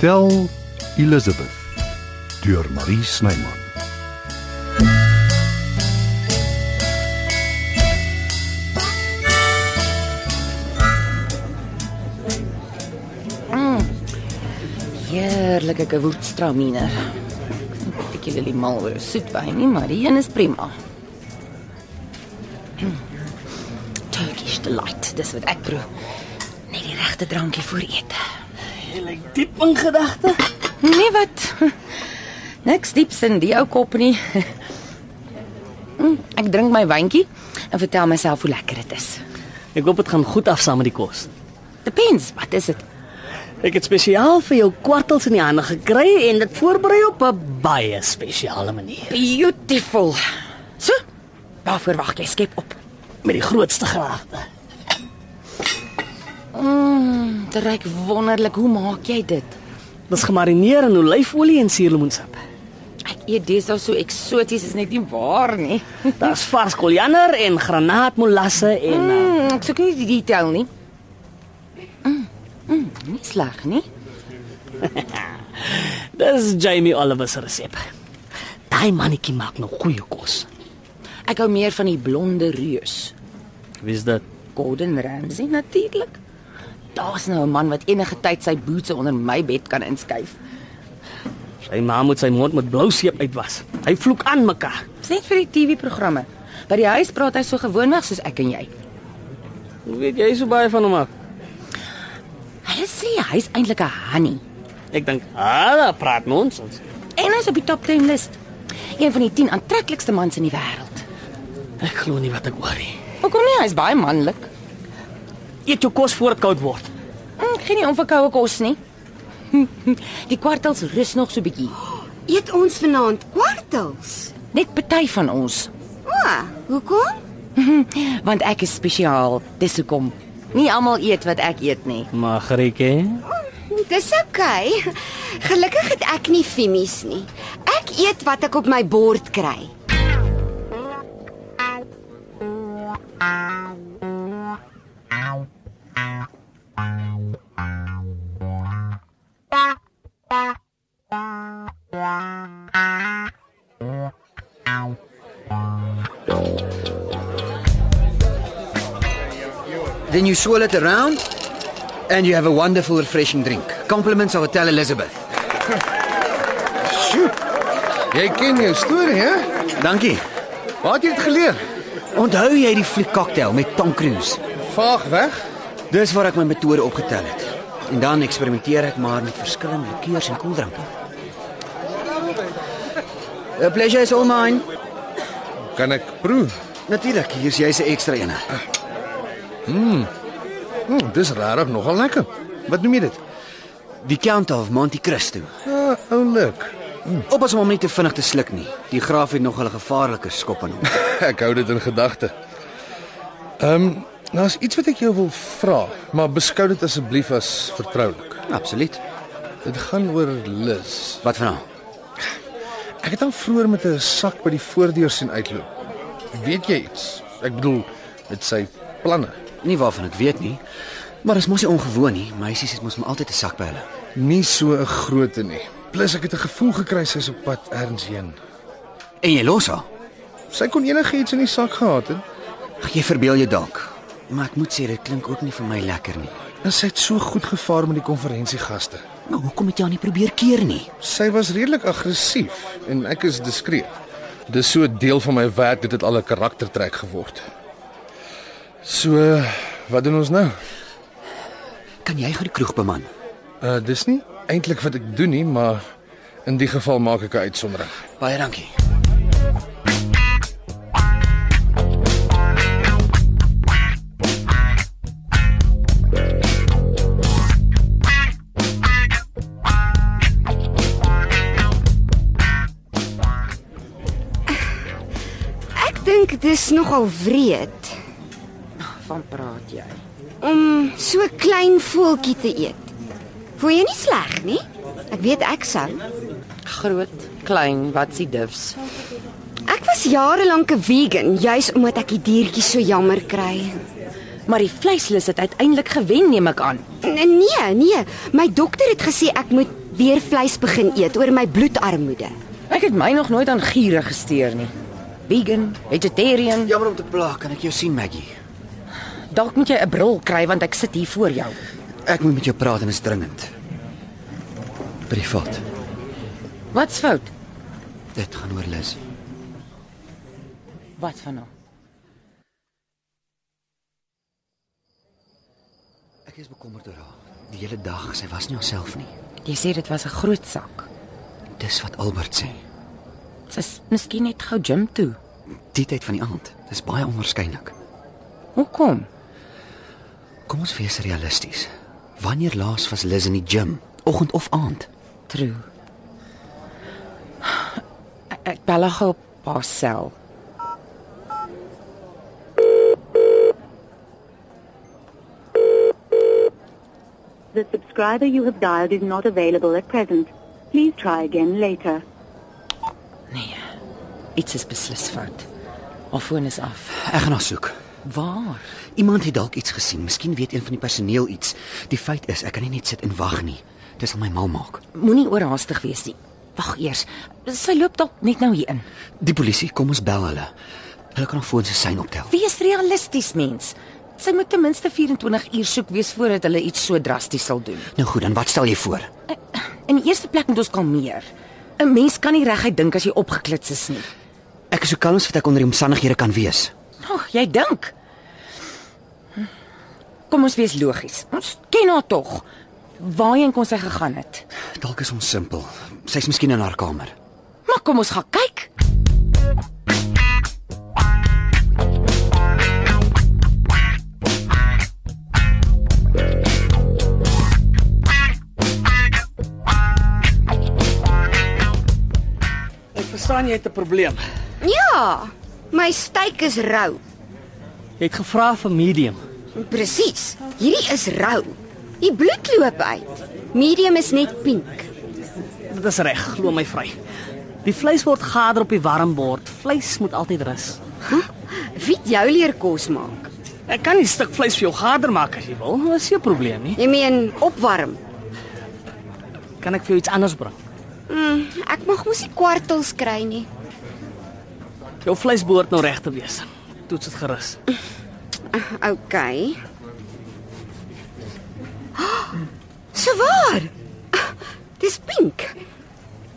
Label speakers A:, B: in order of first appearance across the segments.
A: Tel Elizabeth deur Marie Snyman.
B: Heerlike gewoordstraminer. Particularly mal oor soetwyn nie, maar die een is prima. Turkish delight, dis wat ek proe. Net die regte drankie voor ete.
C: Jy lyk diep in gedagte.
B: Nee wat. Niks dieps in die ou kop nie. Mm, Ek drink my wyntjie en vertel myself hoe lekker dit is.
C: Ek hoop dit gaan goed af saam met die kos.
B: Depends, wat is dit?
C: Ek het spesiaal vir jou kwartels in die hande gekry en dit voorberei op 'n baie spesiale manier
B: Beautiful. So, waarvoor wag jy? Skep op.
C: met die grootste graagte.
B: Mm, dit reuk wonderlik. Hoe maak jy dit?
C: Dit is gemarineer in olyfolie en suurlemoensap.
B: Ek eet deesdae so eksoties, is net nie waar nie.
C: Daar's vars koriander en granaatmolasse en mm.
B: Mm, ek soek nie die detail nie. Mm, mm, nie sleg nie.
C: dis Jamie Oliver se resep. Daai mannetjie maak nog goeie kos.
B: Ek hou meer van die blonde reus.
C: Wie's dit?
B: Gordon Ramsay natuurlik. Daar's nou 'n man wat enige tyd sy boete onder my bed kan inskuif.
C: Sy ma moet sy mond met blou seep uitwas. Hy vloek aan mekaar.
B: Dis net vir die TV-programme. By die huis praat hy so gewoonweg soos ek en jy.
C: Hoe weet jy so baie van hom af?
B: Hulle sê hy's eintlik 'n honey
C: Ek dink, "Ah, daar praat nonsens."
B: en hy's op die top 10 lys. Een van die 10 aantreklikste mans in die wêreld.
C: Ek glo nie wat ek hoor nie.
B: Hoekom nie? Hy's baie manlik.
C: Eet jou kos voor dit koud word.
B: Mm, Ek gee nie om vir koue kos nie. Die kwartels rus nog so bietjie.
D: Eet ons vanaand kwartels.
B: Net party van ons,
D: O, oh, hoekom?
B: want ek is spesiaal. Dis hoekom. Nie almal eet wat ek eet nie.
C: Magrietjie.
D: Dis oukei. Okay. Gelukkig het ek nie vimmies nie. Ek eet wat ek op my bord kry.
E: Then you swirl it around and you have a wonderful refreshing drink. Compliments of Hotel Elizabeth.
F: Sjoe. Jy ken jou storie, hè?
E: Dankie.
F: Waar het jy dit geleer?
E: Onthou jy die fliek cocktail met Tom Cruise?
F: Vaag weg.
E: Dis waar ek my metode opgetel het. En dan eksperimenteer ek maar met verskillende liqueurs en koeldranke. A pleasure is all mine.
F: Kan ek proe?
E: Natuurlik, hier's jy se ekstra eene.
F: Hm, dis regtig nogal lekker. Wat noem jy dit?
E: Die Count of Monte Cristo.
F: Ja, oulik.
E: Oppas om hom nie te vinnig te sluk nie. Die graaf het nog 'n gevaarlike skop aan hom.
F: Ek hou dit in gedagte. Ehm, um, daar's iets wat ek jou wil vra, maar beskou dit asseblief as vertroulik.
E: Absoluut.
F: Dit gaan oor Liz.
E: Wat van hom?
F: Ek het haar vroeër met 'n sak by die voordeur sien uitloop. Weet jy iets? Ek bedoel, dit sy planne.
E: Nie waarvan ek weet nie. Maar is mos nie ongewoon nie. Meisies het mos maar altyd 'n sak by hulle.
F: Nie so 'n grootte nie. Plus ek het 'n gevoel gekry sy is op pad ergens heen.
E: En jy los haar.
F: Sy kon enigiets in die sak gehad het.
E: Ag, Jy verbeel jou dalk. Maar ek moet sê dit klink ook nie vir my lekker nie.
F: En sy het so goed gevaar met die konferensiegaste.
E: Maar hoekom het jy haar nie probeer keer nie?
F: Sy was redelik aggressief en ek is diskreet. Dis so 'n deel van my werk dat dit al 'n karaktertrek geword. So, wat doen ons nou?
E: Kan jy gou die kroeg beman?
F: Uh dis nie eintlik wat ek doen nie, maar in die geval maak ek 'n uitsondering.
E: Baie dankie.
D: Ek dink dis nogal wreed
B: Van praat jy?
D: om so 'n klein voeltjie te eet. Voel jy nie sleg nie? Ek weet ek sou.
B: Groot, klein, wat s'ie difs.
D: Ek was jare lank 'n vegan, juis omdat ek die diertjies so jammer kry.
B: Maar die vleislus het uiteindelik gewen, neem ek aan.
D: N- Nee, nee, my dokter het gesê ek moet weer vleis begin eet oor my bloedarmoede.
B: Ek het my nog nooit aan giere gesteer nie. Vegan, vegetarian,
E: Jammer om te pla, kan ek jou sien Maggie?
B: dalk moet jy 'n bril kry want ek sit hier voor jou.
E: Ek moet met jou praat en is dringend. Privaat.
B: Wat's fout?
E: Dit gaan oor Liz.
B: Wat van hom?
E: Ek is bekommerd oor haar. Die hele dag, sy was nie haarself nie.
B: Jy sê dit was 'n groot sak.
E: Dis wat Albert sê.
B: Sy's miskien net gou gym toe.
E: Die tyd van die aand. Dis baie onwaarskynlik.
B: Hoekom?
E: Kom ons wees realisties. Wanneer laas was Liz in die gim? Oggend of aand?
B: True. Ek- Ek bel haar gou op haar sel.
G: The subscriber you have dialed is not available at present. Please try again later.
B: Nee. Iets is beslis fout. Haar foon is af.
E: Ek gaan haar soek.
B: Waar?
E: Iemand het dalk iets gesien. Miskien weet een van die personeel iets. Die feit is, ek kan nie net sit en wag nie. Dit sal my mal maak.
B: Moenie oorhaastig wees nie. Wag eers. Sy loop dalk net nou hier in.
E: Die polisie, kom ons bel hulle. Hulle kan haar foon se sein optel.
B: Wees realisties, mens. Sy moet ten minste 24 uur soek wees voordat hulle iets so drasties sal doen.
E: Nou goed, dan wat stel jy voor?
B: Eh, In die eerste plek moet ons kalmeer. 'n Mens kan nie reguit dink as jy opgeklits is nie.
E: Ek is so kalm as wat ek onder die omstandighede kan wees.
B: Ag, jy dink. Kom ons wees logies. Ons ken haar tog. Waarheen kon sy gegaan het?
E: Dalk is ons simpel. Sy's miskien in haar kamer.
B: Maar kom ons gaan kyk.
C: Ek verstaan jy het 'n probleem.
D: Ja, my steak is rou.
C: Jy het gevra vir medium.
D: Presies. Hierdie is rou. Die bloed loop uit. Medium is net pink.
C: Dit is reg, glo my vry. Die vleis word gader op die warm bord. Vleis moet altyd rus.
D: Wie het jou leer kos maak?
C: Ek kan nie 'n stuk vleis vir jou gader maak as jy wil. Dit is nie 'n probleem nie.
D: Jy meen opwarm.
C: Kan ek vir jou iets anders bring?
D: Mm, ek mag mos nie kwartels kry nie.
C: Jou vleis behoort nou reg te wees. Toets dit gerus.
D: OK. So waar. Dis pink.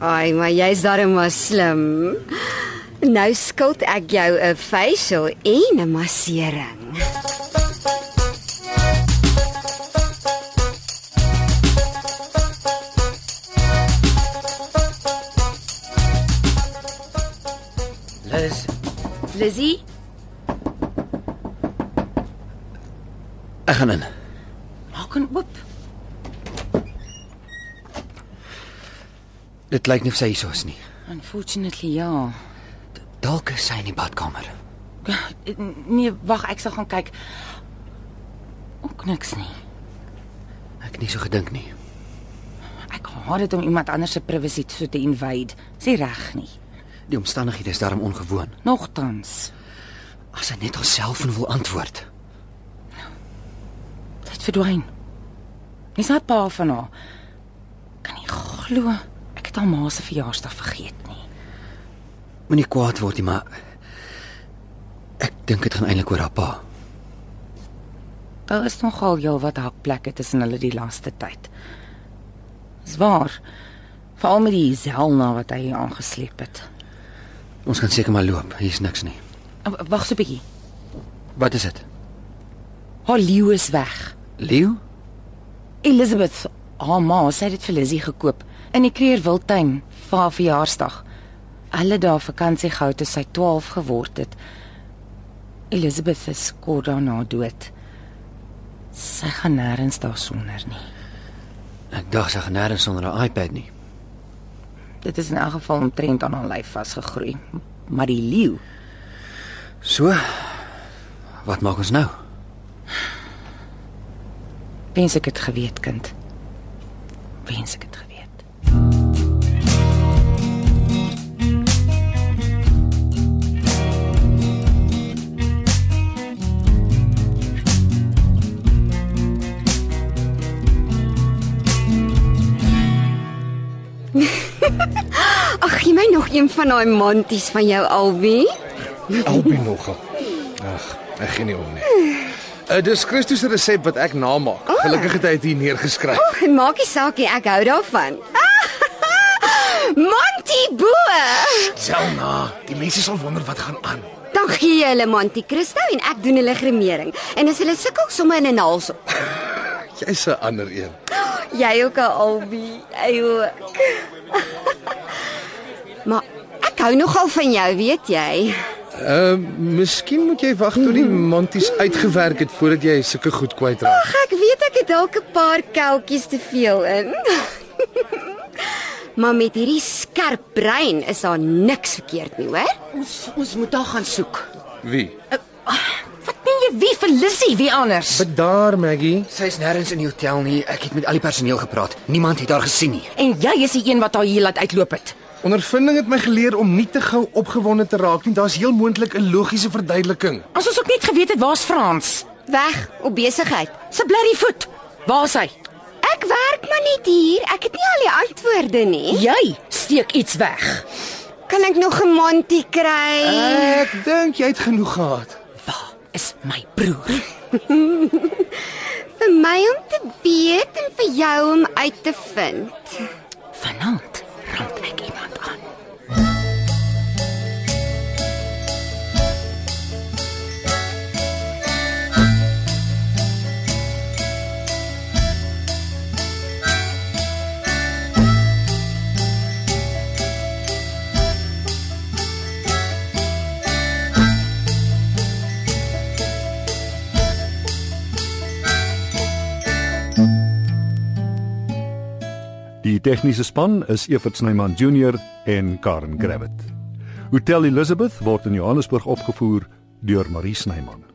D: Ai, maar jy's darem maar slim. Nou skuld ek jou 'n facial en 'n massering.
E: Liz,
B: Lizzie,
E: ek gaan in.
B: maak hom oop.
E: Dit lyk nie of sy hier is nie.
B: Unfortunately, ja.
E: Dalk is sy in die badkamer.
B: Nee, wag, ek sal gaan kyk. Ook niks nie.
E: Ek het nie so gedink nie.
B: Ek haat dit om iemand anders se privacy so te invade. Sê reg nie.
E: Die omstandighede is daarom ongewoon.
B: Nogtans,
E: As sy net haarself wil antwoord.
B: dit verdwyn. Dis haar pa van haar. Kan nie glo ek het haar ma se verjaarsdag vergeet nie.
E: Moenie kwaad word nie, maar ek dink dit gaan eintlik oor haar pa.
B: Daar is nogal heelwat hakplekke tussen hulle die laaste tyd. Dis waar. Veral met die Zelna wat hy hier aangesleep het.
E: Ons kan seker maar loop. Hier's niks nie.
B: W- Wag so 'n bietjie.
E: Wat is dit?
B: Haar leeu is weg.
E: Leo?
B: Elizabeth, haar ma, sy het dit vir Lizzie gekoop in die Kreer Wildtuin vir haar verjaarsdag. Hulle het daar vakansie gehou toe sy 12 geword het. Elizabeth is kort daarna dood. Sy gaan nêrens daarsonder nie.
E: Ek dink sy gaan nêrens sonder haar iPad nie.
B: Dit is in elk geval omtrent aan haar lyf vasgegroei. Maar die leeu
E: So, wat maak ons nou?
B: Wens ek het geweet, kind. Wens ek het geweet.
D: Ag, gee my nog een van daai manties van jou, Albie.
H: Albie nogal. Ag, ek gee nie om nie. Uh, dis Christus se resep wat ek namaak. Gelukkig het hy dit hier neergeskryf.
D: Ag, en maak nie saak nie, ek hou daarvan. Monty bo.
E: Selma, die mense sal wonder wat gaan aan.
D: Dan gee jy hulle Monty Cristo en ek doen hulle grimering. En as hulle sukkel, sommer in 'n naels op.
H: Jy's 'n ander een.
D: Jy ook al Albie. Jy ook. maar ek hou nogal van jou, weet jy.
H: Ehm uh, miskien moet jy wag tot die manties uitgewerk het voordat jy sulke goed kwytraak.
D: Ag, ek weet ek het dalk 'n paar koutjies te veel in. maar met hierdie skerp brein is daar niks verkeerd nie, hoor?
B: Ons ons moet daar gaan soek.
H: Wie?
B: Wat meen jy wie vir Lissy, wie anders?
H: Bedaar Maggie.
E: Sy's nêrens in die hotel nie. Ek het met al die personeel gepraat. Niemand het haar gesien nie.
B: En jy is die een wat haar hier laat uitloop het.
H: Ondervinding het my geleer om nie te gou opgewonde te raak nie. Daar's heel moontlik 'n logiese verduideliking.
B: As ons ook net geweet het waar's Frans.
D: Weg op besigheid.
B: Se blerrie voet. Waar's hy?
D: Ek werk maar net hier. Ek het nie al die antwoorde nie.
B: Jy steek iets weg.
D: Kan ek nog 'n mantie kry?
H: Ek dink jy het genoeg gehad.
B: Waar is my broer?
D: Vir my om te weet en vir jou om uit te vind.
B: Vanaand rand ek iemand aan.
F: Die tegniese span is Evert Snyman Junior en Karen Gravett. Hotel Elizabeth word in Johannesburg opgevoer deur Marie Snyman.